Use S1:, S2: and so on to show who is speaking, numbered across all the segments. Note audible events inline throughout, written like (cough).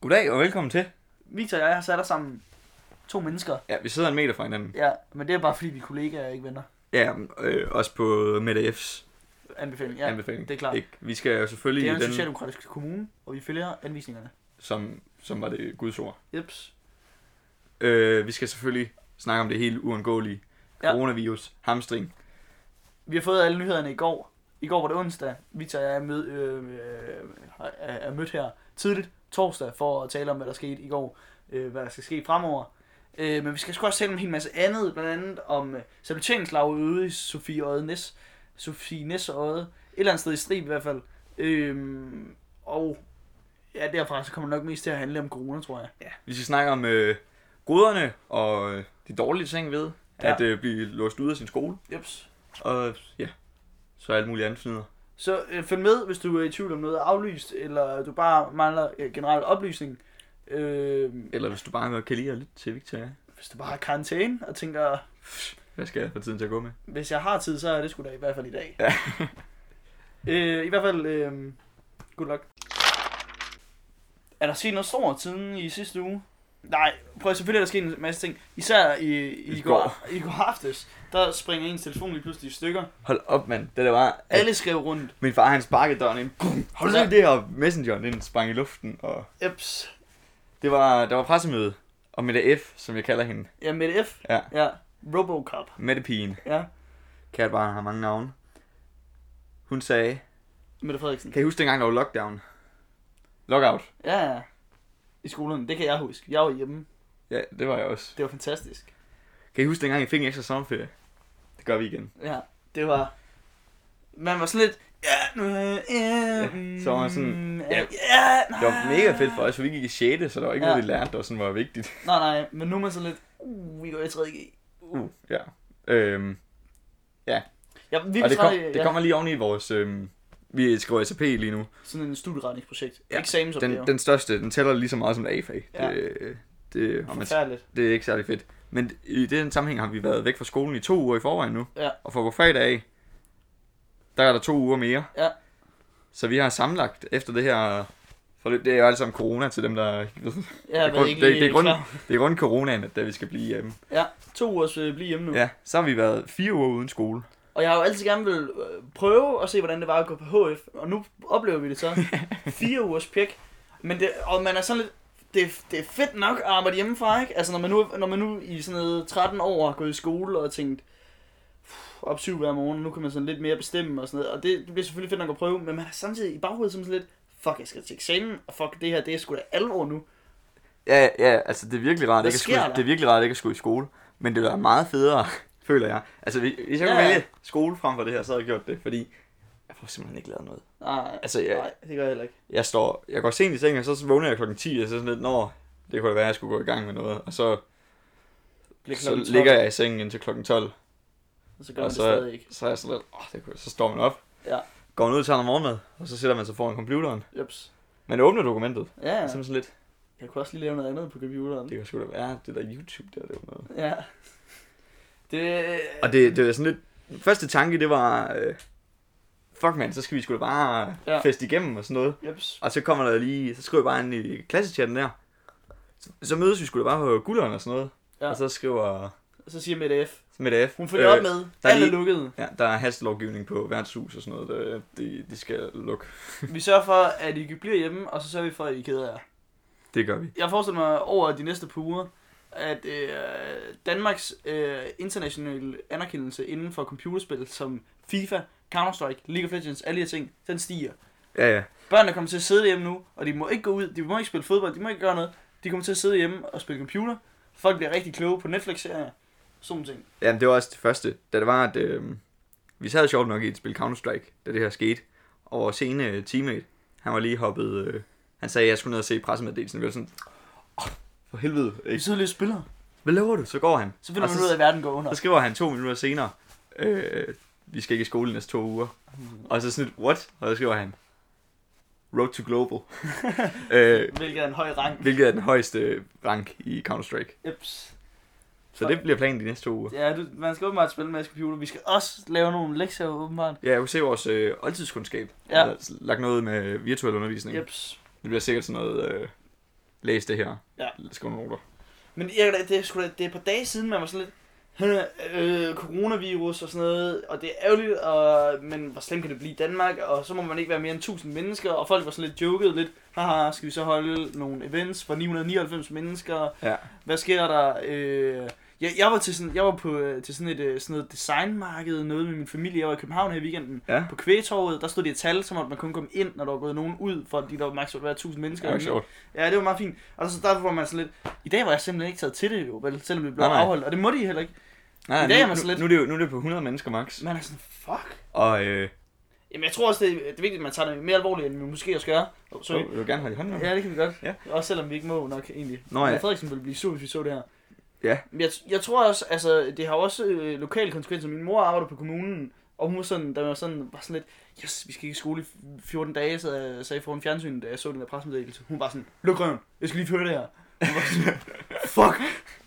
S1: Goddag og velkommen til.
S2: Victor og jeg har sat os sammen to mennesker.
S1: Ja, vi sidder en meter fra hinanden.
S2: Ja, men det er bare fordi, vi er kollegaer og ikke venner.
S1: Ja, øh, også på Mette F's
S2: Anbefaling,
S1: ja,
S2: ja.
S1: anbefaling.
S2: det er klart.
S1: Ikke? Vi skal jo selvfølgelig
S2: Det er
S1: i
S2: en
S1: den,
S2: socialdemokratisk kommune, og vi følger anvisningerne.
S1: som, som var det Guds ord.
S2: Jeps.
S1: Øh, vi skal selvfølgelig snakke om det helt uundgåelige.
S2: Ja.
S1: Coronavirus, hamstring.
S2: Vi har fået alle nyhederne i går. I går var det onsdag. Victor og jeg er, mød, øh, øh, er- er mødt her tidligt torsdag for at tale om, hvad der skete i går. Øh, hvad der skal ske fremover. Øh, men vi skal sgu også tale om en hel masse andet. Blandt andet om øh, saboteringslaget ude i Sofie Øde Næs. Sofie Næs Øde. Et eller andet sted i Strib i hvert fald. Øh, og ja, derfra så kommer det nok mest til at handle om corona, tror jeg. Ja.
S1: Vi skal snakke om øh, goderne og øh, de dårlige ting ved
S2: Ja.
S1: ja. at øh, blive låst ud af sin skole.
S2: Jeps.
S1: Og ja, så alt muligt andet fnider.
S2: Så øh, følg med, hvis du er i tvivl om noget er aflyst, eller du bare mangler øh, generel oplysning. Øh,
S1: Eller hvis du bare godt kan lide at lytte til Victoria.
S2: hvis du bare har karantæne og tænker,
S1: Hvad skal jeg få tiden til at gå med?
S2: hvis jeg har tid, så er det sgu da i hvert fald i dag.
S1: Ja.
S2: (laughs) øh, I hvert fald, øh, good luck. Er der sket noget stort siden i sidste uge? Nej, prøv at- selvfølgelig er der sket en masse ting. Især i, i,
S1: I
S2: I, går. i går aftes, der springer ens telefon lige pludselig i stykker.
S1: Hold op, mand. Det der var, at
S2: Alle skrev rundt.
S1: min far han sparkede døren ind. Bum, Hold
S2: Ja.
S1: ja. det her messenger, den sprang i luften. Og
S2: Eps.
S1: det var, der var pressemøde. Og Mette F, som jeg kalder hende.
S2: Ja, med F.
S1: Ja.
S2: ja. Robocop.
S1: Mette Pigen.
S2: Ja,
S1: Kært barn har mange navne. Hun sagde,
S2: Mette Frederiksen.
S1: kan I huske dengang, der var lockdown? Lockout.
S2: Ja, ja. I skolen, det kan jeg huske. Jeg var hjemme.
S1: Ja, det var jeg også.
S2: Det var fantastisk.
S1: Kan I huske dengang, I fik en ekstra sommerferie? Det gør vi igen.
S2: Ja, det var... Man var sådan lidt... Ja, nu... Ja,
S1: så var man sådan,
S2: Ja,
S1: ja.
S2: ja nej.
S1: Det var mega fedt for os, for vi gik i 6. Så der var ikke
S2: Ah.
S1: ja.
S2: Ja.
S1: noget, vi lærte, der sådan var vigtigt.
S2: Nej, nej, men nu er man sådan lidt... Uh, vi går i 3.G.
S1: Uh, ja. Øhm,
S2: Ja, vi
S1: og det, kom,
S2: ja,
S1: det kommer lige oven i vores... Øhm, vi skriver SAP lige nu.
S2: sådan en studieretningsprojekt. Ja,
S1: Ja,
S2: Eksamensopgave.
S1: Den, den største, den tæller lige så meget som et A-fag.
S2: Ja.
S1: Ja. Det, det, og man,
S2: Forfærdeligt.
S1: det er ikke særlig fedt. Men i den sammenhæng har vi været væk fra skolen i to uger i forvejen nu.
S2: Ja.
S1: Og for på fredag af, der er der to uger mere.
S2: Ja.
S1: Så vi har sammenlagt efter det her forløb. Det er jo alt sammen corona til dem, der...
S2: Ja, jeg
S1: grund-
S2: ved ikke
S1: det-
S2: lige
S1: det er grund-
S2: klar.
S1: Det er rundt coronaen, at der vi skal blive hjemme.
S2: Ja, to ugers øh, blive hjemme nu. Ja.
S1: Ja, så har vi været fire uger uden skole.
S2: Og jeg har jo altid gerne vil øh, prøve at se, hvordan det var at gå på HF, og nu oplever vi det
S1: (laughs)
S2: så. Fire ugers pjek. Men det, og man er sådan lidt, det, det er fedt nok at arbejde hjemmefra, ikke? Altså når man nu, når man nu i sådan noget 13 år har gået i skole og tænkt, "Puh, op syv hver morgen, nu kan man sådan lidt mere bestemme og sådan noget. Og det, det bliver selvfølgelig fedt nok at prøve, men man er samtidig i baghovedet som sådan lidt, fuck, jeg skal til eksamen, og fuck, det her, det er sgu da alvor nu.
S1: Ja, ja, altså det er virkelig rart,
S2: Hvad
S1: ikke at
S2: sker
S1: skulle,
S2: der?
S1: det er virkelig rart ikke at skulle i skole. Men det er meget federe, (laughs) føler jeg. Altså hvis hvis jeg kunne
S2: Ja, ja.
S1: vælge skole frem for det her, så havde jeg gjort det, fordi jeg får simpelthen ikke lavet noget.
S2: Nej,
S1: Altså, jeg-
S2: nej, det gør jeg heller ikke.
S1: Jeg står, jeg går sent i seng, og så vågner jeg klokken 10, og så sådan lidt, når det kunne da være, at jeg skulle gå i gang med noget. Og så,
S2: Bliver
S1: så
S2: klokken 12,
S1: ligger jeg i sengen indtil klokken 12,
S2: og så gør man
S1: og
S2: det
S1: så,
S2: stadig ikke.
S1: så er jeg sådan lidt, åh, det kunne, så står man op,
S2: Ja.
S1: går man ud og tager noget morgenmad, og så sætter man sig foran computeren.
S2: Jeps.
S1: Man åbner dokumentet,
S2: Ja,
S1: og så er man sådan lidt,
S2: jeg kunne også lige lave noget andet på computeren.
S1: det kunne sgu da være, det der YouTube der, det var noget.
S2: Ja. Det...
S1: Og det, det var sådan lidt... Første tanke, det var... Øh, fuck man, så skal vi sgu da bare
S2: Ja.
S1: ja. feste igennem og sådan noget.
S2: Jeps.
S1: Og så kommer der lige... Så skriver jeg bare ind i klassechatten der. Så, så mødes vi sgu da bare på gulderen og sådan noget.
S2: Ja.
S1: Ja. Og så skriver
S2: Så siger Mette F.
S1: så Mette F.
S2: Hun følger øh,
S1: øh,
S2: op med.
S1: der er
S2: Alt er
S1: lige-
S2: lukket.
S1: Ja, der er hastelovgivning på værtshus og sådan noget. Der, de, de skal lukke.
S2: Vi sørger for, at I bliver hjemme, og så sørger vi for, at I keder jer.
S1: Det gør vi.
S2: Jeg forestiller mig over de næste par uger, at øh, Danmarks øh, internationale anerkendelse inden for computerspil som FIFA, Counter-Strike, League of Legends, alle de her ting, den stiger.
S1: Ja, ja.
S2: Børnene kommer til at sidde hjemme nu, og de må ikke gå ud, de må ikke spille fodbold, de må ikke gøre noget. De kommer til at sidde hjemme og spille computer. Folk bliver rigtig kloge på Netflix-serier. Sådan nogle ting.
S1: Jamen, det var også det første, da det var, at øh, vi sad sjovt nok i et spil Counter-Strike, da det her skete. Og vores ene øh, teammate, han var lige hoppet... Øh, han sagde, at jeg skulle ned og se pressemeddelelsen. Vi var sådan, oh, for helvede.
S2: Vi
S1: Ikke?
S2: sidder lige og spiller.
S1: Hvad laver du? Så går han.
S2: Så finder
S1: Og
S2: man ud af, at verden går under.
S1: Så skriver han to minutter senere, øh, vi skal ikke i skole de næste to uger.
S2: Mm.
S1: Og så sådan lidt, what? Og så skriver han, Road to
S2: (laughs)
S1: Global. øh,
S2: Hvilket er en høj rang.
S1: hvilket er den højeste rank i Counter-Strike.
S2: Eps.
S1: Så det bliver planen de næste to uger.
S2: Ja, du, man skal åbenbart spille en masse computer. Vi skal også lave nogle lektier, åbenbart.
S1: Ja, jeg kunne se vores øh, oldtidskundskab.
S2: Ja.
S1: Jeg har lagt noget med virtuel undervisning.
S2: Jeps.
S1: Det bliver sikkert sådan noget øh, læs det her.
S2: Ja.
S1: Skriv nogle noter.
S2: Men jeg, det, det, er sgu da- det er et par dage siden, man var sådan lidt, øh, coronavirus og sådan noget, og det er ærgerligt, og, men hvor slemt kan det blive i Danmark, og så må man ikke være mere end 1000 mennesker, og folk var sådan lidt joket lidt, haha, skal vi så holde nogle events for 999 mennesker,
S1: Ja.
S2: hvad sker der? Øh, jeg, jeg var til sådan, jeg var på, øh, til sådan et, øh, sådan noget designmarked, noget med min familie, jeg var i København her i weekenden,
S1: Ja.
S2: på Kvægetorvet, der stod det et tal, så måtte man kun komme ind, når der var gået nogen ud, for de der var maks. måtte være 1000
S1: Det
S2: mennesker.
S1: er nok sjovt.
S2: Ja, det var meget fint. Og så der var man sådan lidt, i dag var jeg simpelthen ikke taget til det jo, vel, selvom det blev
S1: Nej, nej.
S2: afholdt, og det må de heller ikke.
S1: Nej,
S2: I dag er
S1: nu,
S2: man så lidt-
S1: nu, nu, er det jo, nu er det på 100 mennesker max.
S2: Man er sådan, fuck.
S1: Og øh,
S2: Jamen jeg tror også, det er, det er vigtigt, at man tager det mere alvorligt, end vi måske også gør. Oh,
S1: så
S2: sorry.
S1: vil du gerne holde i hånden med mig?
S2: Ja, det kan vi godt.
S1: Ja.
S2: Også selvom vi ikke må nok egentlig.
S1: Nå ja.
S2: Men Frederiksen ville blive sur, hvis vi så det her.
S1: Ja.
S2: Men jeg, jeg tror også, altså, det har også øh, lokale konsekvenser. Min mor arbejder på kommunen, og hun var sådan, der var sådan, var sådan lidt, yes, vi skal ikke i skole i f- 14 dage, så jeg sagde foran fjernsynet, da jeg så den der pressemeddelelse. Hun var sådan, luk røven, jeg skal lige høre det her. Hun var
S1: (laughs)
S2: sådan, fuck,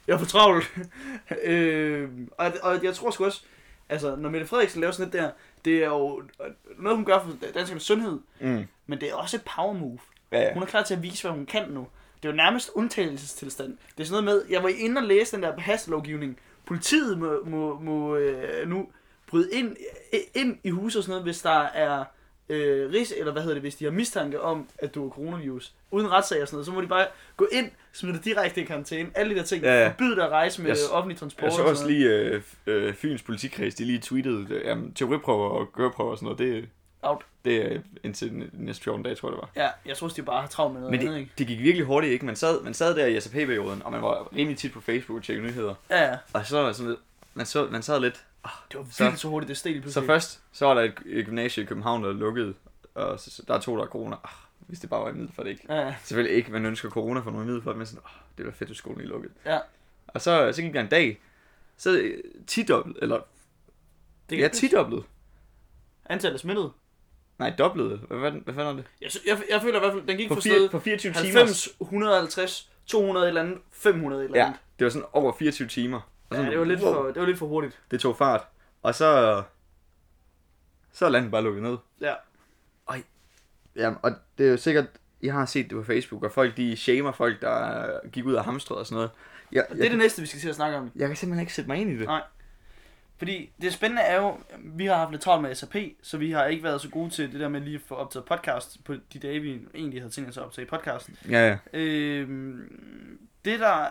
S2: jeg er for travlt. (laughs) øh, og, og jeg tror sgu også, altså, når Mette Frederiksen laver sådan lidt der, det er jo øh, noget, hun gør for danskernes sundhed,
S1: Mm.
S2: men det er også et power move.
S1: Ja, ja.
S2: Hun er klar til at vise, hvad hun kan nu. Det er jo nærmest undtagelsestilstand. Det er sådan noget med, jeg var inde og læse den der hastelovgivning. Politiet må, må, må øh, nu bryde ind, øh, ind i huset og sådan noget, hvis der er øh, ris, eller hvad hedder det, hvis de har mistanke om, at du er coronavirus. Uden retssag og sådan noget, så må de bare gå ind, smide dig direkte i karantæne. Alle de der ting.
S1: Ja, ja.
S2: Forbyde dig at rejse med
S1: Jeg s-
S2: offentlig transport.
S1: Jeg så
S2: og
S1: også
S2: sådan noget.
S1: lige øh, f- øh, Fyns politikreds, de lige tweetede, øh, jamen, teoriprøver og gørprøver og sådan noget, det,
S2: Out.
S1: det er indtil den næste 14 dage, tror jeg det var.
S2: Ja, jeg tror også, de bare har travlt med noget
S1: Men
S2: andet,
S1: det,
S2: ikke?
S1: det gik virkelig hurtigt, ikke? Man sad, man sad der i SAP-perioden, og man var rimelig tit på Facebook og tjekkede nyheder.
S2: Ja, ja.
S1: Og så var jeg sådan lidt, man, så, man sad lidt.
S2: Det var
S1: Så-
S2: virkelig så hurtigt, det steg lige
S1: Så
S2: pludselig.
S1: først, så var der et, et gymnasie i København, der lukkede, og så, så, der er to, der er corona. Ah, hvis det bare var i middel for det ikke.
S2: Ja, ja.
S1: Selvfølgelig ikke, man ønsker corona for nogen middel for det, men sådan, åh, det var fedt, at skolen lige lukkede.
S2: Ja.
S1: Og så, så gik der en dag, så øh, tidoblet, eller
S2: Det
S1: ja, tidoblet.
S2: Antallet af smittede.
S1: Nej, doblet. Hvad, hvad, hvad fanden er det?
S2: Jeg, sy- jeg, jeg føler i hvert fald, den gik
S1: På,
S2: fra
S1: fire,
S2: stedet
S1: på 24 timer.
S2: 90, 150, 200 et eller andet, 500 et eller
S1: Ja,
S2: andet.
S1: det var sådan over 24 timer. Og
S2: Ja,
S1: sådan,
S2: det, var lidt
S1: wow,
S2: for, det var lidt for hurtigt.
S1: Det tog fart. Og så... Så er landet bare lukket ned.
S2: Ja.
S1: Ja, og det er jo sikkert... Jeg har set det på Facebook, og folk de shamer folk, der gik ud af hamstret og sådan noget. Jeg,
S2: Og
S1: jeg,
S2: det er det næste, vi skal til at snakke om.
S1: jeg kan simpelthen ikke sætte mig ind i det.
S2: Nej. Fordi det spændende er jo, vi har haft lidt travlt med SAP, så vi har ikke været så gode til det der med lige at få optaget podcast på de dage, vi egentlig havde tænkt os at optage podcast.
S1: Ja, ja.
S2: Øhm, det, der, øh,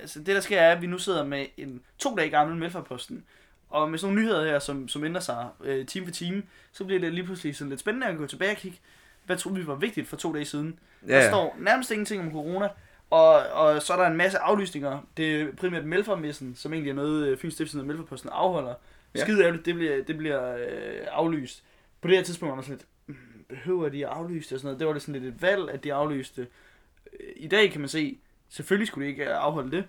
S2: altså det der sker er, at vi nu sidder med en to dage gammel Melfarposten, og med sådan nogle nyheder her, som, som ændrer sig øh, time for time, så bliver det lige pludselig sådan lidt spændende at gå tilbage og kigge, hvad troede vi var vigtigt for to dage siden.
S1: ja,
S2: Der
S1: ja.
S2: står nærmest ingenting om corona, og, og så er der en masse aflysninger. Det er primært Melfarmessen, som egentlig er noget, øh, Fyns Stiftelse og Melfarposten afholder.
S1: Ja.
S2: Skide ærgerligt, det bliver, det bliver øh, aflyst. På det her tidspunkt var man sådan lidt, "Mm, behøver de at aflyse det og sådan noget? Det var lidt sådan lidt et valg, at de aflyste. Øh, I dag kan man se, selvfølgelig skulle de ikke afholde det.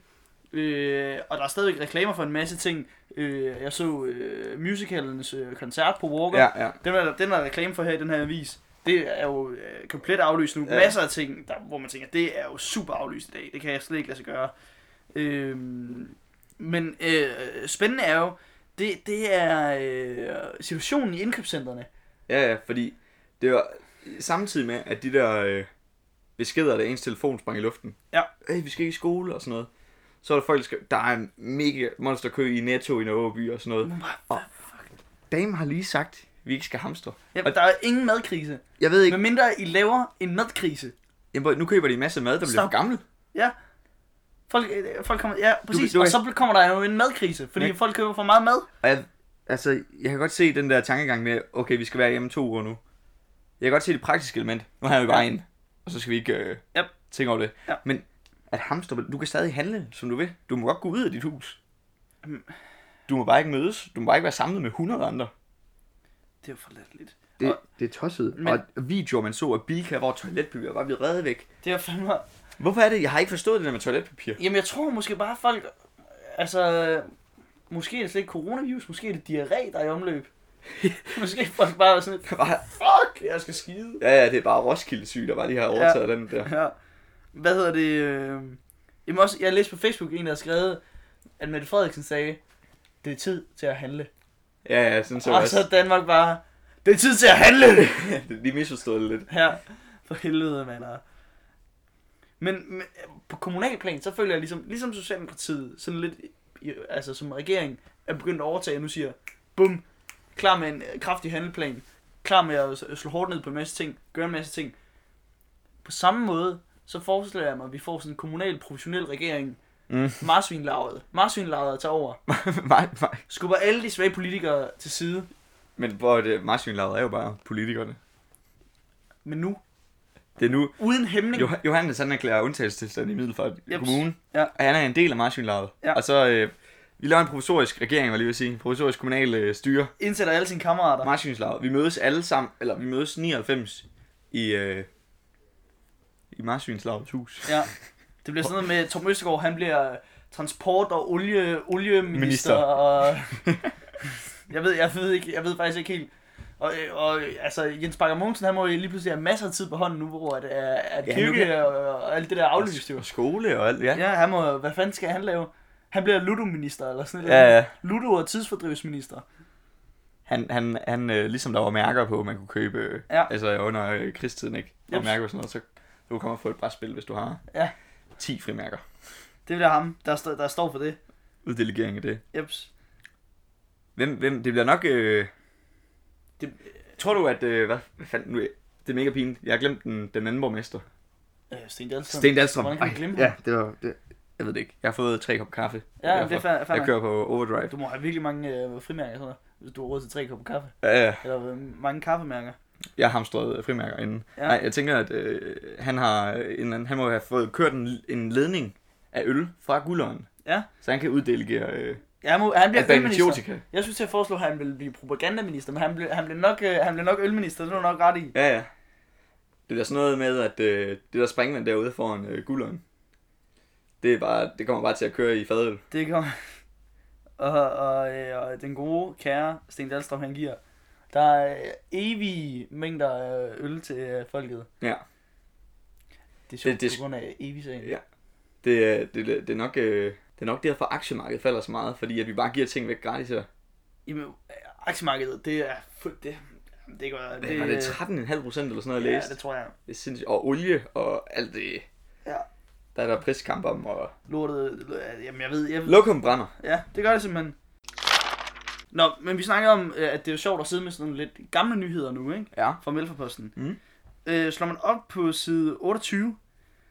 S2: Øh, og der er stadigvæk reklamer for en masse ting. Øh, jeg så øh, musicalens øh, koncert på Walker.
S1: Ja, ja.
S2: Den er, den er der reklame for her i den her avis. Det er jo øh, komplet aflyst nu.
S1: Ja.
S2: Ja. Masser af ting, der, hvor man tænker, det er jo super aflyst i dag. Det kan jeg slet ikke lade sig gøre. Øhm, men øh, spændende er jo, det, det er øh, situationen i indkøbscentrene.
S1: Ja, ja, fordi det var samtidig med, at de der øh, beskeder, der ens telefon sprang i luften.
S2: Ja.
S1: Hey, vi skal ikke i skole og sådan noget. Så er der folk, der skriver, der er en mega monsterkø i Netto i Nørreby og sådan
S2: Mm.
S1: noget. Og dame har lige sagt, at vi ikke skal hamstre.
S2: Ja, der er ingen madkrise.
S1: Jeg ved ikke,
S2: Med mindre I laver en madkrise.
S1: jamen, nu køber de en masse mad, der bliver
S2: Stop.
S1: for gammel.
S2: Ja. Folk, øh, folk kommer, ja, præcis.
S1: du
S2: Du,
S1: kan-
S2: du, og så kommer der jo en madkrise, fordi
S1: Ja.
S2: folk køber for meget mad.
S1: Og jeg, altså, jeg kan godt se den der tankegang med, okay, vi skal være hjemme to uger nu. Jeg kan godt se det praktiske element. Nu har jeg jo bare en, og så skal vi ikke øh,
S2: Yep.
S1: tænke over det.
S2: Ja.
S1: Men at hamster, du kan stadig handle, som du vil. Du må godt gå ud af dit hus.
S2: Mm.
S1: Du må bare ikke mødes. Du må bare ikke være samlet med 100 andre.
S2: Det er jo for lidt lidt.
S1: Det,
S2: Og-
S1: det er tosset.
S2: Men-
S1: Men... Og videoer, man så af Bilka, hvor toiletpapir var blevet reddet væk.
S2: Det er jo fandme...
S1: Hvorfor er det? Jeg har ikke forstået det der med toiletpapir. (laughs)
S2: Jamen, jeg tror måske bare, at folk... øh, Altså, måske er det slet ikke coronavirus, måske er det diarré, der er i omløb. måske er folk bare sådan, lidt,
S1: Bare-
S2: fuck, jeg skal skide.
S1: Ja, ja, det er bare Roskilde syg, der bare lige har overtaget ja. den der.
S2: Ja. Hvad hedder det? Øh... Jamen også, jeg læste på Facebook, en der havde skrevet, at Mette Frederiksen sagde, det er tid til at handle.
S1: Ja, ja, sådan så
S2: Så og
S1: også.
S2: så er Danmark bare, det er tid til at handle!
S1: (laughs) De misforstod det lidt.
S2: Ja, for helvede, mand. Men, men på kommunalplan, så føler jeg ligesom, ligesom Socialdemokratiet, sådan lidt, i- altså som regering, er begyndt at overtage, og nu siger, bum, klar med en øh, kraftig handelplan, klar med at s- slå hårdt ned på en masse ting, gøre en masse ting. På samme måde, så forestiller jeg mig, at vi får sådan en kommunal, professionel regering,
S1: Mm.
S2: marsvinlaget, marsvinlaget tager over,
S1: (laughs) nej, nej.
S2: skubber alle de svage politikere til side,
S1: Men hvor det, marsvinlaget er jo bare politikerne.
S2: men nu,
S1: Det er nu,
S2: uden hæmning,
S1: jo, Johannes han erklærer undtagelsestilstand i Middelfart
S2: Jeps.
S1: yep. kommune,
S2: Ja.
S1: og han er en del af marsvinlaget.
S2: Ja.
S1: Og så, øh, vi laver en provisorisk regering, var jeg lige ved at sige, en provisorisk kommunal øh, styre,
S2: indsætter alle sine kammerater.
S1: marsvinslaget. Vi mødes alle sammen, eller vi mødes 99 i, øh, i marsvinslagets hus.
S2: Ja. Det bliver sådan noget med, Tom Østergaard, han bliver transport- og olie, olieminister,
S1: Minister.
S2: Minister. og... jeg ved, jeg ved, ikke, jeg ved faktisk ikke helt. Og, øh, og øh, altså, Jens Bakker Mogensen, han må jo lige pludselig have masser af tid på hånden nu, hvor at, at, at
S1: Ja,
S2: ja,
S1: nu
S2: kirke
S1: kan-
S2: og, og, alt det der er aflyst jo.
S1: Og skole og alt, ja.
S2: Ja, han må, hvad fanden skal han lave? Han bliver ludominister eller sådan noget.
S1: Ja, ja.
S2: Ludo og tidsfordrivsminister.
S1: Han, han, han øh, ligesom der var mærker på, man kunne købe, øh,
S2: Ja.
S1: altså under øh, krigstiden, ikke? Der var
S2: Jeps.
S1: mærker på sådan noget, så du kommer få et brætspil, hvis du har
S2: Ja.
S1: 10 frimærker.
S2: Det bliver ham, der, står- der står for det.
S1: Uddelegering af det.
S2: Jeps.
S1: Hvem, hvem, det bliver nok... Øh...
S2: Det-
S1: Tror du, at... Øh, hvad, hvad fanden nu... Det er mega pinligt. Jeg har glemt den, den anden borgmester.
S2: Øh, Sten Dahlstrøm.
S1: Sten Dahlstrøm.
S2: Hvordan kan man glemme
S1: Ej, Ja, det var... Det... Jeg ved det ikke. Jeg har fået tre kopper kaffe.
S2: Ja, men
S1: Derfor.
S2: det er fair, fair
S1: Jeg
S2: nok.
S1: kører på overdrive.
S2: Du må have virkelig mange øh, frimærker og sådan noget, hvis du har råd til tre kopper kaffe.
S1: Ja, ja.
S2: Eller øh, mange kaffemærker.
S1: jeg har hamstret øh, frimærker inden. Ja.
S2: Ja.
S1: Nej, jeg tænker, at øh, han, har, en, eller anden- han må have fået kørt en, en ledning af øl fra gulderen.
S2: Ja.
S1: Så han kan uddelegere øh,
S2: Ja, han, må, han bliver ølminister.
S1: antibiotika.
S2: Jeg synes, jeg foreslår, at han ville blive propagandaminister, men han blev, han blev, nok, øh, han blev nok ølminister, det er du nok ret i.
S1: Ja, ja. Det er sådan noget med, at øh, det der springvand derude foran øh, gulderen, det, er bare, det kommer bare til at køre i fadøl.
S2: Det kommer. (laughs) Og, og, øh, og den gode, kære Sten Dahlstrøm, han giver. Der er øh, evige mængder øh, øl til øh, folket.
S1: Ja.
S2: Det er sjovt,
S1: det-
S2: det, det, på grund af evig sagen.
S1: Ja. Det, er- det, det, det, er nok, øh, det er nok derfor, aktiemarkedet falder så meget, fordi at vi bare giver ting væk gratis her.
S2: Jamen, øh, aktiemarkedet, det er fuldt det. Det gør det.
S1: Det, var det 13,5 procent eller sådan noget, jeg
S2: ja,
S1: læste?
S2: det tror jeg.
S1: Det er sindssygt. Og olie og alt det.
S2: Ja.
S1: Der er der priskamp om, og
S2: Lortet, øh, jamen jeg ved, jeg ved,
S1: lokum brænder.
S2: Ja, det gør det simpelthen. Nå, men vi snakker om, øh, at det er sjovt at sidde med sådan nogle lidt gamle nyheder nu, ikke?
S1: Ja.
S2: Fra Mælferposten.
S1: Mm.
S2: Øh, slår man op på side 28,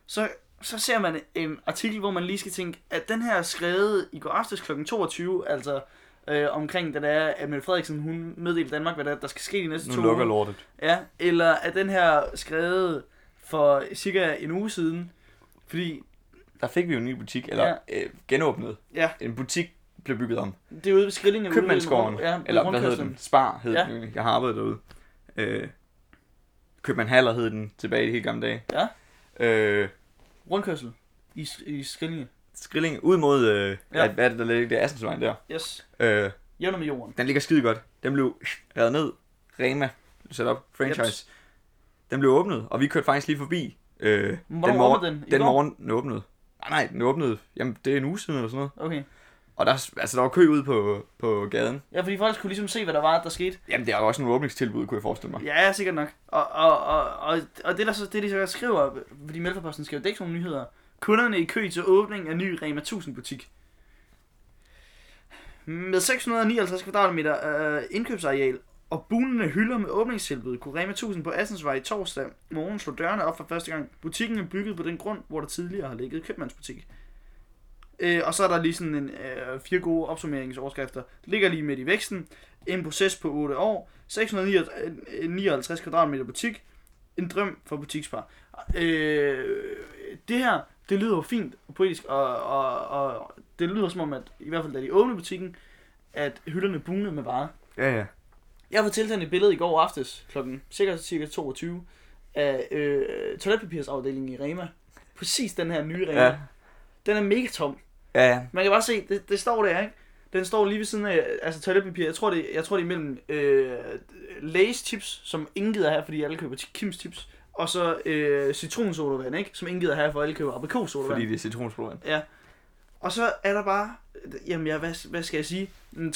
S2: så, så ser man en artikel, hvor man lige skal tænke, at den her er skrevet i går aftes kl. 22, altså øh, omkring, da det er, at Mette Frederiksen, hun meddelte Danmark, hvad der, der skal ske de næste to uger.
S1: lortet.
S2: Ja, eller at den her er skrevet for cirka en uge siden, fordi
S1: Der fik vi jo en ny butik, eller ja. øh, genåbnet.
S2: Ja.
S1: En butik blev bygget om.
S2: det er ude ved Skrillinge. ude ved-
S1: Købmandsgården,
S2: Ja, ved
S1: eller hvad hed
S2: rundkørslen.
S1: den? Spar hed
S2: Ja.
S1: den egentlig. Jeg har arbejdet derude. Øh, Købmand Haller hed den tilbage i de helt gamle dage.
S2: Ja.
S1: Øh,
S2: Rundkørsel i, i Skrillinge.
S1: Skrilling ud mod, øh, ja.
S2: Ja.
S1: hvad er det, der ligger? Det er Assensvejen der.
S2: Yes.
S1: Øh,
S2: Jævner med jorden.
S1: den ligger skide godt. Den blev reddet ned. Rema sat op. Franchise. Yep. Den blev åbnet, og vi kørte faktisk lige forbi. Øh,
S2: Hvornår
S1: morgen,
S2: åbnede den? I
S1: den
S2: går?
S1: morgen den åbnede. Nej, nej, den åbnede. Jamen, det er en uge siden eller sådan noget.
S2: Okay.
S1: Og der, altså, der var kø ude på, på gaden.
S2: Ja, fordi folk skulle ligesom se, hvad der var, der skete.
S1: Jamen, det er jo også nogle åbningstilbud, kunne jeg forestille mig.
S2: Ja, ja, sikkert nok. Og, og, og, og, og det, der så, det, de så skriver, fordi Mælkeposten skriver, det er ikke sådan nogle nyheder. Kunderne i kø til åbning af ny Rema 1000 butik. Med 659 kvadratmeter øh, indkøbsareal og bunende hylder med åbningstilbud kunne Rema 1000 på Assensvej i torsdag morgen slå dørene op for første gang. Butikken er bygget på den grund, hvor der tidligere har ligget købmandsbutik. Øh, og så er der lige sådan en øh, fire gode opsummeringsoverskrifter. Ligger lige midt i væksten. En proces på 8 år. 659 øh, kvadratmeter butik. En drøm for butikspar. Øh, det her, det lyder jo fint og poetisk, og, og, og det lyder som om, at i hvert fald da de åbnede butikken, at hylderne bugnede med varer.
S1: Ja, ja.
S2: Jeg var tilsendt et billede i går aftes, klokken cirka, cirka 22, af øh, toiletpapirsafdelingen i Rema. Præcis den her nye Rema.
S1: Ja.
S2: Ja. Den er mega tom.
S1: Ja, ja.
S2: Man kan bare se, det, det står der, ikke? Den står lige ved siden af, altså toiletpapir, jeg tror det, jeg tror det er imellem øh, Lay's chips, som ingen gider have, fordi alle køber Kims chips, og så øh, citronsodavand, ikke? Som ingen gider have, for alle køber aprikosodavand.
S1: Fordi det er citronsbrugen.
S2: Og så er der bare, jamen ja, hvad, hvad skal jeg sige, en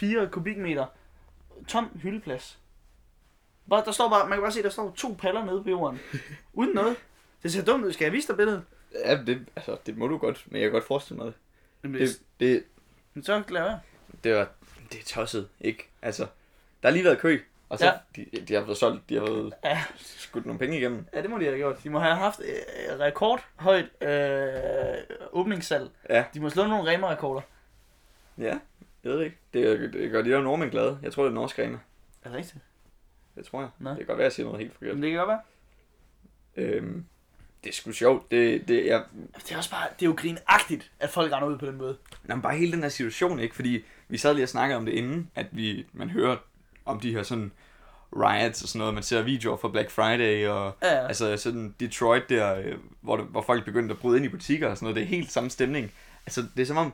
S2: 3-4 kubikmeter tom hyldeplads. Bare, der står bare, man kan bare se, der står to paller nede på jorden. Uden noget. Det ser dumt ud. Skal jeg vise dig billedet?
S1: Ja, det, altså, det må du godt, men jeg kan godt forestille mig det.
S2: Jamen,
S1: Det, det,
S2: Men så lad være.
S1: det, var, det er tosset, ikke? Altså, der har lige været kø, og så
S2: Ja.
S1: de, de har fået solgt, de har fået
S2: Ja.
S1: skudt nogle penge igennem.
S2: ja, det må de have gjort. De må have haft øh, rekordhøjt øh, åbningssalg.
S1: Ja.
S2: De må slå nogle remer-rekorder.
S1: Ja, jeg ved det ikke. Det, er- det gør de der nordmænd glade. Jeg tror, det er norsk rema.
S2: Er det rigtigt?
S1: Det tror jeg.
S2: Nå.
S1: Det kan godt være, at jeg siger noget helt forkert.
S2: Jamen, det kan godt være.
S1: Øhm, det er sgu sjovt. Det, det, jeg,
S2: Det er også bare, det er jo grinagtigt, at folk render ud på den måde.
S1: Nå, men bare hele den her situation, ikke? Fordi vi sad lige og snakkede om det inden, at vi, man hører om de her sådan riots og sådan noget. Man ser videoer fra Black Friday og
S2: Ja, ja.
S1: altså sådan Detroit der, øh, hvor, det, hvor folk begyndte at bryde ind i butikker og sådan noget. Det er helt samme stemning. Altså, det er som om,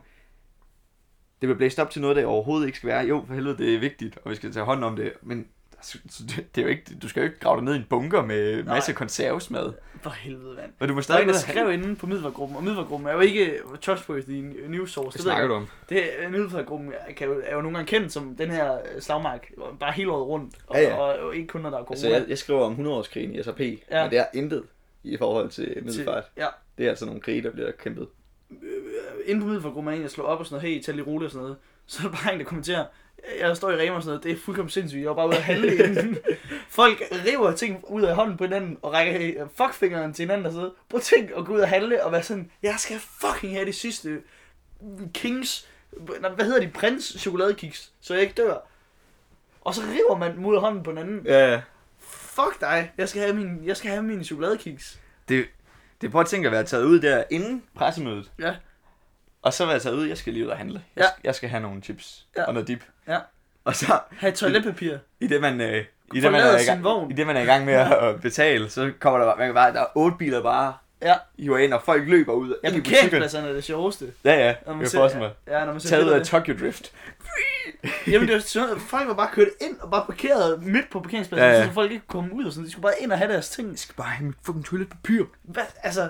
S1: det bliver blæst op til noget, der overhovedet ikke skal være. Jo, for helvede, det er vigtigt, og vi skal tage hånd om det. Men altså, det er jo ikke, du skal jo ikke grave dig ned i en bunker med
S2: Nej.
S1: masse konservesmad.
S2: For helvede, mand.
S1: Men du må
S2: Der er
S1: stadig
S2: en, der
S1: ud og have-
S2: skrev inde på midlergruppen, og midlergruppen er jo ikke øh, trustworthy news source.
S1: Hvad
S2: Det ved jeg
S1: snakker
S2: ikke.
S1: du om?
S2: Det øh, midlergruppen er- kan jo, er jo nogle gange kendt som den her øh, slagmark, hvor- bare hele året rundt, og,
S1: Ja, ja.
S2: og, og ikke kun når der er corona.
S1: Altså, jeg, jeg skriver om 100-årskrigen i SRP, ja.
S2: Ja.
S1: men det er intet i forhold til
S2: Til-
S1: middelfart.
S2: Ja,
S1: Det er altså nogle krige, der bliver kæmpet.
S2: øh, inde på middelfagrum er en, jeg slår op og sådan noget, hey, tag lige roligt og sådan noget. Så er der bare en, der kommenterer, jeg står i Rema og sådan noget, det er fuldkommen sindssygt, jeg var bare ude at handle inden. Folk river ting ud af hånden på hinanden, og rækker øh, fuckfingeren til hinanden og sådan noget. Prøv at tænk at gå ud og handle og være sådan, jeg skal fucking have de sidste mm, kings, nej, hvad hedder de, prins chokoladekiks, så jeg ikke dør. Og så river man dem ud af hånden på hinanden.
S1: Ja,
S2: Fuck dig, jeg skal have min, jeg skal have min chokoladekiks.
S1: det, det prøver at tænke at være taget ud der inden pressemødet,
S2: Ja,
S1: og så være taget ud, jeg skal lige ud og handle. Jeg,
S2: Ja.
S1: skal, jeg skal have nogle chips
S2: Ja.
S1: ja. og noget dip.
S2: Ja.
S1: Og så,
S2: have toiletpapir.
S1: i det man, øh, i det, man,
S2: Forlader
S1: er i,
S2: sin
S1: gang,
S2: vogn.
S1: i det, man er i gang med at betale, så kommer der bare, man kan bare der er otte biler bare
S2: Ja,
S1: hiver ind, og folk løber ud
S2: ja
S1: ind i butikkerne.
S2: parkeringspladserne er det sjoveste.
S1: Ja, ja,
S2: Når man
S1: jeg
S2: ser-
S1: får mig.
S2: Ja, når man ser
S1: Taget ud
S2: billeder
S1: af Tokyo Drift.
S2: Jamen det var sådan noget, at folk var bare kørt ind og bare parkeret midt på parkeringspladsen,
S1: Ja,
S2: ja,
S1: ja.
S2: ja. så folk ikke kunne komme ud og sådan. De skulle bare ind og have deres ting.
S1: skal bare have mit fucking toiletpapir.
S2: Hvad, altså,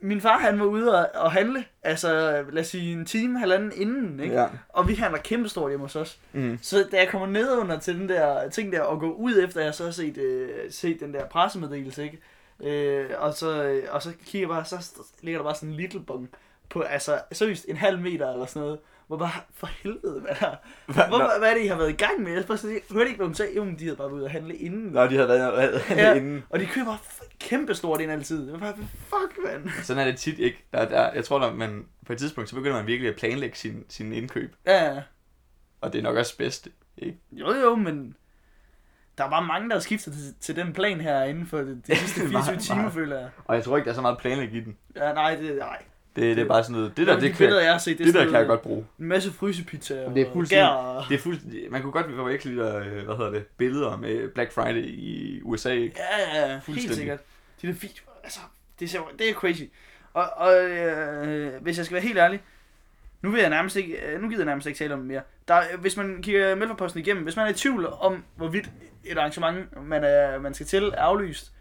S2: min far han var ude og, og handle, altså lad os sige en time, halvanden inden, ikke? Ja.
S1: Ja.
S2: Og vi handler kæmpestort hjemme hos os.
S1: Mm.
S2: Så da jeg kommer ned under til den der ting der, og går ud efter, jeg så har set, øh, set den der pressemeddelelse, ikke? Øh, og, så, og så kigger jeg bare, så st- ligger der bare sådan en little bong på, altså seriøst, en halv meter eller sådan noget. Hvor bare, for helvede, hvad der...
S1: Hva,
S2: Hvor,
S1: når,
S2: hvad, hvad er det, I har været i gang med? Jeg spørger sådan, hørte I ikke, hvad hun sagde? Jo, men de havde bare været ude at handle inden.
S1: når de havde været ja.
S2: Ja.
S1: inden.
S2: Og de køber f- kæmpe stort ind altid. Jeg var bare, fuck, mand.
S1: Sådan er det tit, ikke? Der, der, jeg tror, når man på et tidspunkt, så begynder man virkelig at planlægge sin, sin indkøb.
S2: Ja, ja.
S1: Og det er nok også bedst, ikke?
S2: jo jo, men der er bare mange, der har skiftet til, til den plan her inden for de,
S1: (laughs)
S2: de sidste
S1: Meget,
S2: 24 timer,
S1: meget.
S2: føler jeg.
S1: Og jeg tror ikke, der er så meget planlæg i den.
S2: Ja, nej, det, nej.
S1: Det, det er bare sådan noget, det
S2: Nogle
S1: der,
S2: af
S1: det,
S2: de
S1: kan,
S2: billeder,
S1: jeg,
S2: jeg har set, det, er
S1: det der
S2: sådan
S1: kan jeg
S2: noget-
S1: godt bruge.
S2: En masse frysepizza og
S1: Men det er fuldstændig-
S2: gær og...
S1: Det er fuldstændig, man kunne godt forveksle de der, øh, hvad hedder det, billeder med Black Friday i USA, ikke?
S2: Ja, ja, ja, helt
S1: Fuldstændig.
S2: sikkert. De der videoer, altså, det, ser, det er crazy. Og, og øh, hvis jeg skal være helt ærlig, nu, vil jeg nærmest ikke, øh, nu gider jeg nærmest ikke tale om det mere. Der, øh, hvis man kigger Mælkeposten igennem, hvis man er i tvivl om, hvorvidt et arrangement, man, øh, man skal til, er aflyst,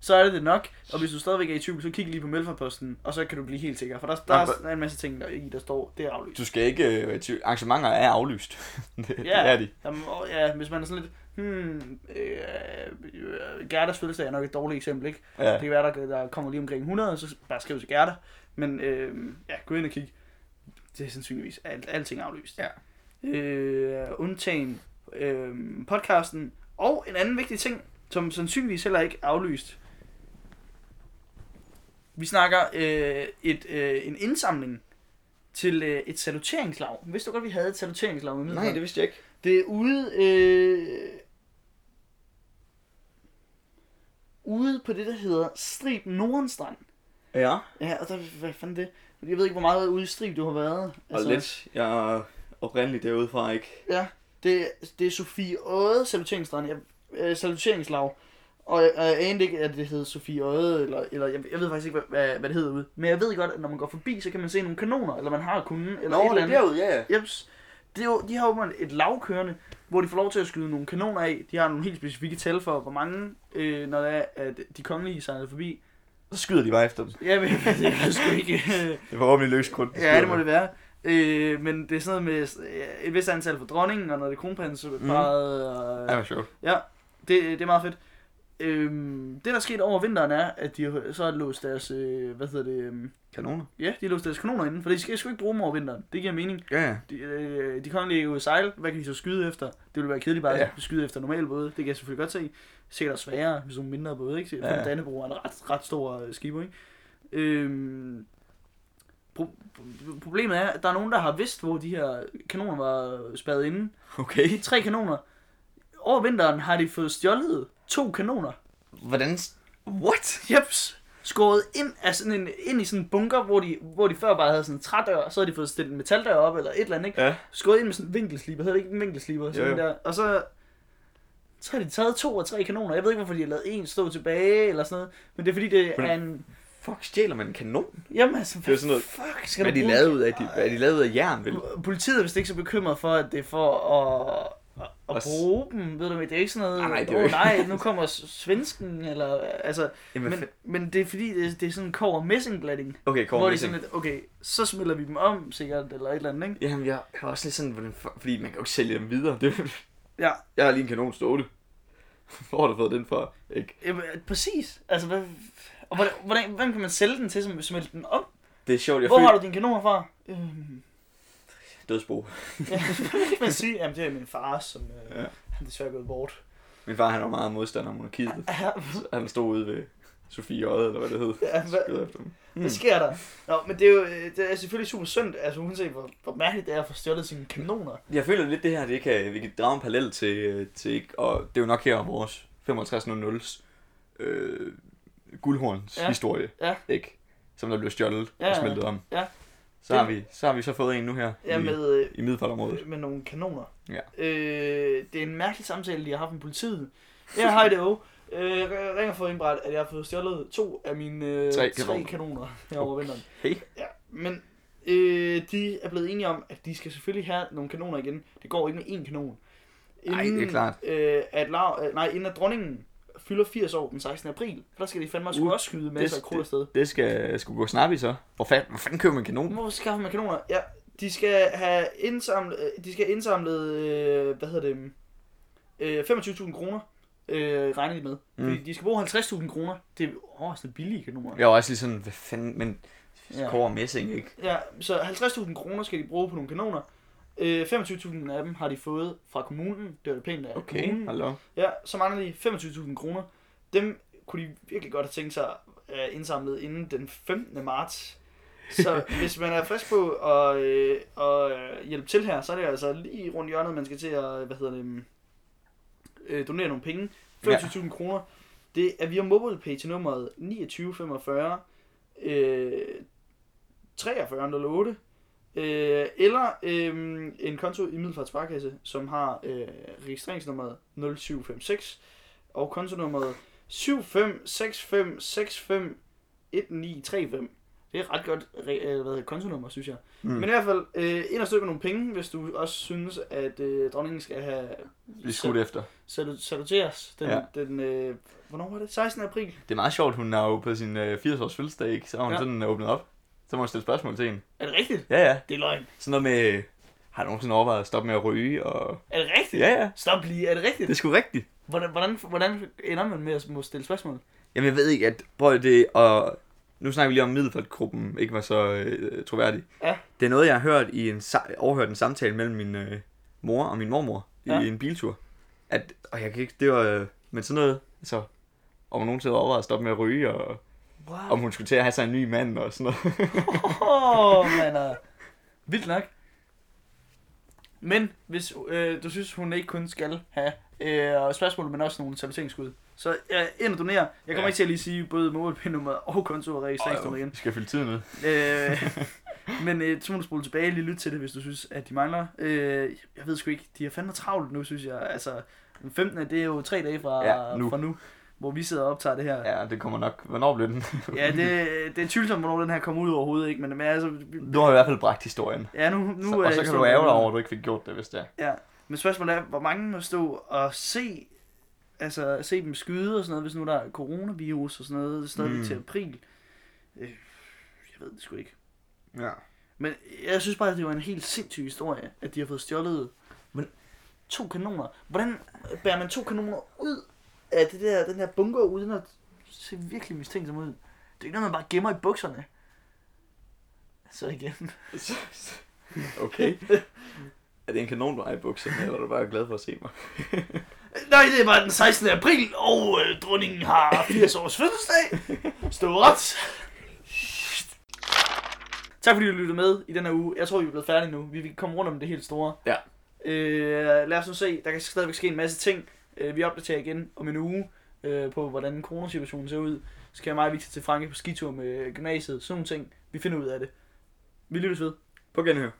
S2: så er det det nok. Og hvis du stadigvæk er i tvivl, så kig lige på Mælkeposten, og så kan du blive helt sikker. For der, der,
S1: Jamen,
S2: er en masse ting, der, i, der står, det er aflyst.
S1: Du skal ikke, øh, være i tvivl. arrangementer er aflyst. (laughs) det, yeah. det, er de.
S2: Jamen, og, ja, hvis man er sådan lidt, hmm, øh, øh, Gerdas fødselsdag er nok et dårligt eksempel, ikke? Det
S1: Ja.
S2: kan være, der, der kommer lige omkring 100, og så bare skriv til Gerda. Men øh, ja, gå ind og kig. Det er sandsynligvis alt, alting er aflyst.
S1: Ja.
S2: Øh, undtagen øh, podcasten. Og en anden vigtig ting, som sandsynligvis heller ikke er aflyst. Vi snakker øh, et, øh, en indsamling til øh, et saluteringslag. Vidste du godt, vi havde et saluteringslag? med midler?
S1: Nej, det vidste jeg ikke.
S2: Det er ude... Øh, ude på det, der hedder Strib Nordenstrand.
S1: Ja,
S2: Ja, og der, hvad fanden det? Jeg ved ikke, hvor meget ude i Strib du har været. Altså,
S1: og lidt. Jeg er oprindeligt derude fra, ikke?
S2: Ja, det, det er Sofie Odde Saluteringsstrand. Jeg, øh, saluteringslag. Og jeg, og jeg anede ikke, at det hed Sofie Odde, eller, eller jeg, jeg ved faktisk ikke, hvad, hvad, hvad det hedder ude. Men jeg ved godt, at når man går forbi, så kan man se nogle kanoner, eller man har kunden, eller et eller andet.
S1: derude, ja, ja.
S2: Jeps. Det er jo, de har jo et lavkørende, hvor de får lov til at skyde nogle kanoner af. De har nogle helt specifikke tal for, hvor mange, øh, når det er, at de kongelige sejler forbi.
S1: Så skyder de bare efter dem.
S2: Ja, men (laughs) det er sgu ikke... (laughs) øh,
S1: Det er forhåbentlig løs grund. de
S2: ja,
S1: skyder
S2: det må
S1: med.
S2: det være. Øh, men det er sådan noget med øh, et vist antal for dronningen, og når det er kronprinseparet, mm.
S1: Ja,
S2: og
S1: det var sjovt.
S2: det, det er meget fedt. Øhm, det, der skete over vinteren, er, at de har- så har låst deres, øh, hvad hedder det, øhm,
S1: Kanoner.
S2: ja, de har låst deres kanoner inden, for de skal sgu ikke bruge dem over vinteren. Det giver mening.
S1: Ja, ja.
S2: De, øh, de kongelige jo sejle. Hvad kan de så skyde efter? Det ville være kedeligt bare
S1: Ja.
S2: ja. at skyde efter normale både. Det kan jeg selvfølgelig godt se. Sikkert også sværere, hvis nogle mindre både, ikke?
S1: Ja.
S2: Ja. Dannebro er en ret, ret stor øh, skib, ikke? Øhm, pro- pro- problemet er, at der er nogen, der har vidst, hvor de her kanoner var spadet inde.
S1: Okay.
S2: Tre kanoner. Over vinteren har de fået stjålet to kanoner.
S1: Hvordan... What?
S2: Jeps. Skåret ind, af sådan en, ind i sådan en bunker, hvor de, hvor de før bare havde sådan en trædør, og så havde de fået stillet en metaldør op, eller et eller andet, ikke?
S1: Ja.
S2: skåret ind med sådan en vinkelsliber, hedder det ikke en vinkelsliber? Sådan
S1: Jo, jo.
S2: der. Og så, så har de taget to og tre kanoner. Jeg ved ikke, hvorfor de har lavet en stå tilbage, eller sådan noget. Men det er fordi, det
S1: Hvordan-
S2: er en...
S1: Fuck, stjæler man en kanon?
S2: Jamen altså,
S1: Det er jo sådan noget-
S2: fuck skal
S1: Hvad er
S2: du
S1: de
S2: bruge-
S1: lavet ud af? De, hvad er de lavet af jern, vel?
S2: Politiet er vist ikke så bekymret for, at det er for at, at,
S1: Og
S2: at
S1: s-
S2: bruge dem, ved du hvad, det er ikke sådan noget,
S1: Nej, nej, det er jo
S2: "Åh,
S1: ikke-
S2: nej nu kommer s- svensken, eller, altså,
S1: Jamen,
S2: men,
S1: men,
S2: men det er fordi, det er, det er sådan en kov og messingblanding,
S1: okay, kom
S2: hvor
S1: med
S2: det er
S1: sådan
S2: sådan lidt, okay, så smelter vi dem om, sikkert, eller et eller andet, ikke?
S1: Jamen, jeg har også lidt sådan, hvordan, for- fordi man kan jo ikke sælge dem videre. Det, (laughs)
S2: Ja,
S1: jeg har lige en kanon stående. (laughs) Hvor har du fået den fra? Ikke?
S2: Jamen, præcis. Altså, hvad, og hvordan, hvordan, hvem kan man sælge den til, som vil smelte den op?
S1: Det er sjovt, jeg
S2: Hvor har
S1: føler...
S2: du dine kanoner fra? Øhm,
S1: Dødsbo.
S2: ja, det kan man sige, jamen det er min far, som øh,
S1: Ja.
S2: ja. han desværre er gået bort. (laughs)
S1: Min far, han var meget modstander af monarkiet.
S2: Ja,
S1: Han stod ude ved Sofie Øde, eller hvad det hed.
S2: Ja, hvad-
S1: Skød efter dem.
S2: hvad sker der? Nå, men det er jo øh, det er selvfølgelig super synd, altså uanset hvor, hvor mærkeligt det er at få stjålet sine kanoner.
S1: Jeg føler lidt, det her, det kan, vi kan drage en parallel til, øh, til ikke- og det er jo nok her om vores 5500's øh, guldhorns ja.
S2: Ja.
S1: historie,
S2: Ja.
S1: ikke? Som der blev stjålet ja,
S2: Ja,
S1: og
S2: ja.
S1: smeltet om.
S2: Ja.
S1: Så, har vi, så har vi så fået en nu her
S2: Ja,
S1: i,
S2: med, øh,
S1: i middelfartområdet.
S2: med nogle kanoner.
S1: Ja.
S2: Øh, det er en mærkelig samtale, de har haft med politiet. Ja, hej det er O. Øh, jeg ringer for at indberette, at jeg har fået stjålet to af mine øh,
S1: Tre
S2: tre,
S1: kanoner. Oh,
S2: kanoner. tre kanoner her over vinteren.
S1: Hey.
S2: Ja, men øh, de er blevet enige om, at de skal selvfølgelig have nogle kanoner igen. Det går ikke med én kanon.
S1: Ej, det er klart.
S2: Øh, at lav, øh, nej, inden at dronningen fylder 80 år den 16. april, for der skal de fandme også,
S1: Uh,
S2: uh, også skyde masser af krudt afsted.
S1: Det skal sgu gå snart i så. Hvor, fa- hvor fanden køber man en kanon?
S2: Hvor skaffer man kanoner? Ja, de skal have indsamlet, øh, de skal have indsamlet, øh, hvad hedder det, øh, 25.000 kroner, øh, regner de med. Mm. Fordi de skal bruge 50.000 kroner. Det er overraskende billige kanoner.
S1: Jeg var også lige sådan, hvad fanden, men ja.
S2: Ja.
S1: Kåre Messing, ikke?
S2: Ja, så 50.000 kroner skal de bruge på nogle kanoner. Øh, 25.000 af dem har de fået fra kommunen. Det var det pænt af
S1: Okay,
S2: kommunen.
S1: hallo.
S2: Ja, så mangler de 25.000 kroner. Dem kunne de virkelig godt have tænkt sig øh, indsamlet inden den 15. marts. Så hvis man er frisk på at, øh, at øh, hjælpe til her, så er det altså lige rundt hjørnet, man skal til at hvad hedder det, mm, øh, donere nogle penge. 25.000 ja. kroner. Det er via MobilePay til nummeret 2945 øh, 4308 øh, eller øh, en konto i Middelfart Sparkasse, som har øh, registreringsnummeret 0756 og kontonummeret 7565651935. Det er et ret godt re- øh, hvad hedder, det, kontonummer, synes jeg.
S1: Mm.
S2: Mm. Men i hvert fald, øh, ind og støtte med nogle penge, hvis du også synes, at øh, dronningen skal have
S1: Vi skudt efter.
S2: salu- saluteres. Den,
S1: Ja.
S2: ja. den, øh, hvornår var det? 16. april?
S1: Det er meget sjovt, hun har jo på sin øh, 80-års fødselsdag, ikke? Så har hun ja.
S2: Ja.
S1: sådan øh, åbnet op. Så må hun stille spørgsmål til en.
S2: Er det rigtigt?
S1: Ja, ja.
S2: Det er løgn.
S1: Sådan noget med, øh, har du nogensinde overvejet at stoppe med at ryge? Og...
S2: Er det rigtigt?
S1: Ja, ja.
S2: Stop lige, er det rigtigt?
S1: Det er sgu rigtigt.
S2: Hvordan, hvordan, hvordan ender man med at må stille spørgsmål?
S1: Jamen, jeg ved ikke, at... Prøv at det, og nu snakker vi lige om at Middelfart-gruppen, ikke var så øh, troværdig.
S2: Ja.
S1: Det er noget, jeg har hørt i en, sa- overhørt en samtale mellem min øh, mor og min mormor i
S2: Ja.
S1: en biltur. At, og jeg kan ikke, det var, øh, men sådan noget, så om hun nogensinde overvejede at stoppe med at ryge, og
S2: Wow.
S1: om hun skulle til at have sig en ny mand og sådan noget.
S2: Åh, oh, man er... Vildt nok. Men hvis øh, du synes, hun ikke kun skal have øh, spørgsmål, men også nogle saluteringsskud, så øh, ind og donere. Jeg kommer
S1: Ja.
S2: ja. ikke til at lige sige både målpindnummer og konto og registreringsnummer
S1: Åh, jo,
S2: igen.
S1: (laughs) vi skal fylde tiden med.
S2: Øh, men øh, så må du spole tilbage og lige lytte til det, hvis du synes, at de mangler. Øh, jeg ved sgu ikke, de er fandme travlt nu, synes jeg. Altså, den 15. det er jo tre dage fra,
S1: Ja,
S2: ja,
S1: nu.
S2: nu. fra nu, hvor vi sidder og optager det her. Ja,
S1: Ja, det kommer nok. Hvornår blev den?
S2: ja det, det er tvivlsomt, hvornår den her kommer ud overhovedet, ikke? Men, men altså, vi-
S1: (laughs) Du har i hvert fald bragt historien.
S2: ja, nu, nu
S1: Nu så, og
S2: øh,
S1: så kan
S2: står
S1: du
S2: der-
S1: ærge dig over, at du ikke fik gjort det, hvis det er.
S2: Ja, men spørgsmålet er, hvor mange må stå og se, altså se dem skyde og sådan noget, hvis nu der er coronavirus og sådan noget, stadig
S1: Mm.
S2: mm. til april. Øh, jeg ved det sgu ikke.
S1: Ja.
S2: Men jeg synes bare, at det var en helt sindssyg historie, at de har fået stjålet men, to kanoner. Hvordan bærer man to kanoner ud af det der, den der bunker, uden at se virkelig mistænksom ud. Det er ikke noget, man bare gemmer i bukserne. Så igen.
S1: (laughs) Okay. Er det en kanon, du har i bukserne, eller er du bare glad for at se mig?
S2: Nej, det var den 16. april, og øh, dronningen (laughs) har 80 års fødselsdag. Stå ret. Tak fordi du lyttede med i den her uge. Jeg tror, vi er blevet færdige nu. Vi vil komme rundt om det helt store.
S1: Ja.
S2: Øh, lad os nu se. Der kan stadigvæk ske en masse ting. Øh, vi opdaterer igen om en uge øh, på, hvordan coronasituationen ser ud. Så kan jeg meget vigtigt til Franke på skitur med gymnasiet. Sådan nogle ting. Vi finder ud af det. Vi lyttes ved.
S1: På genhør.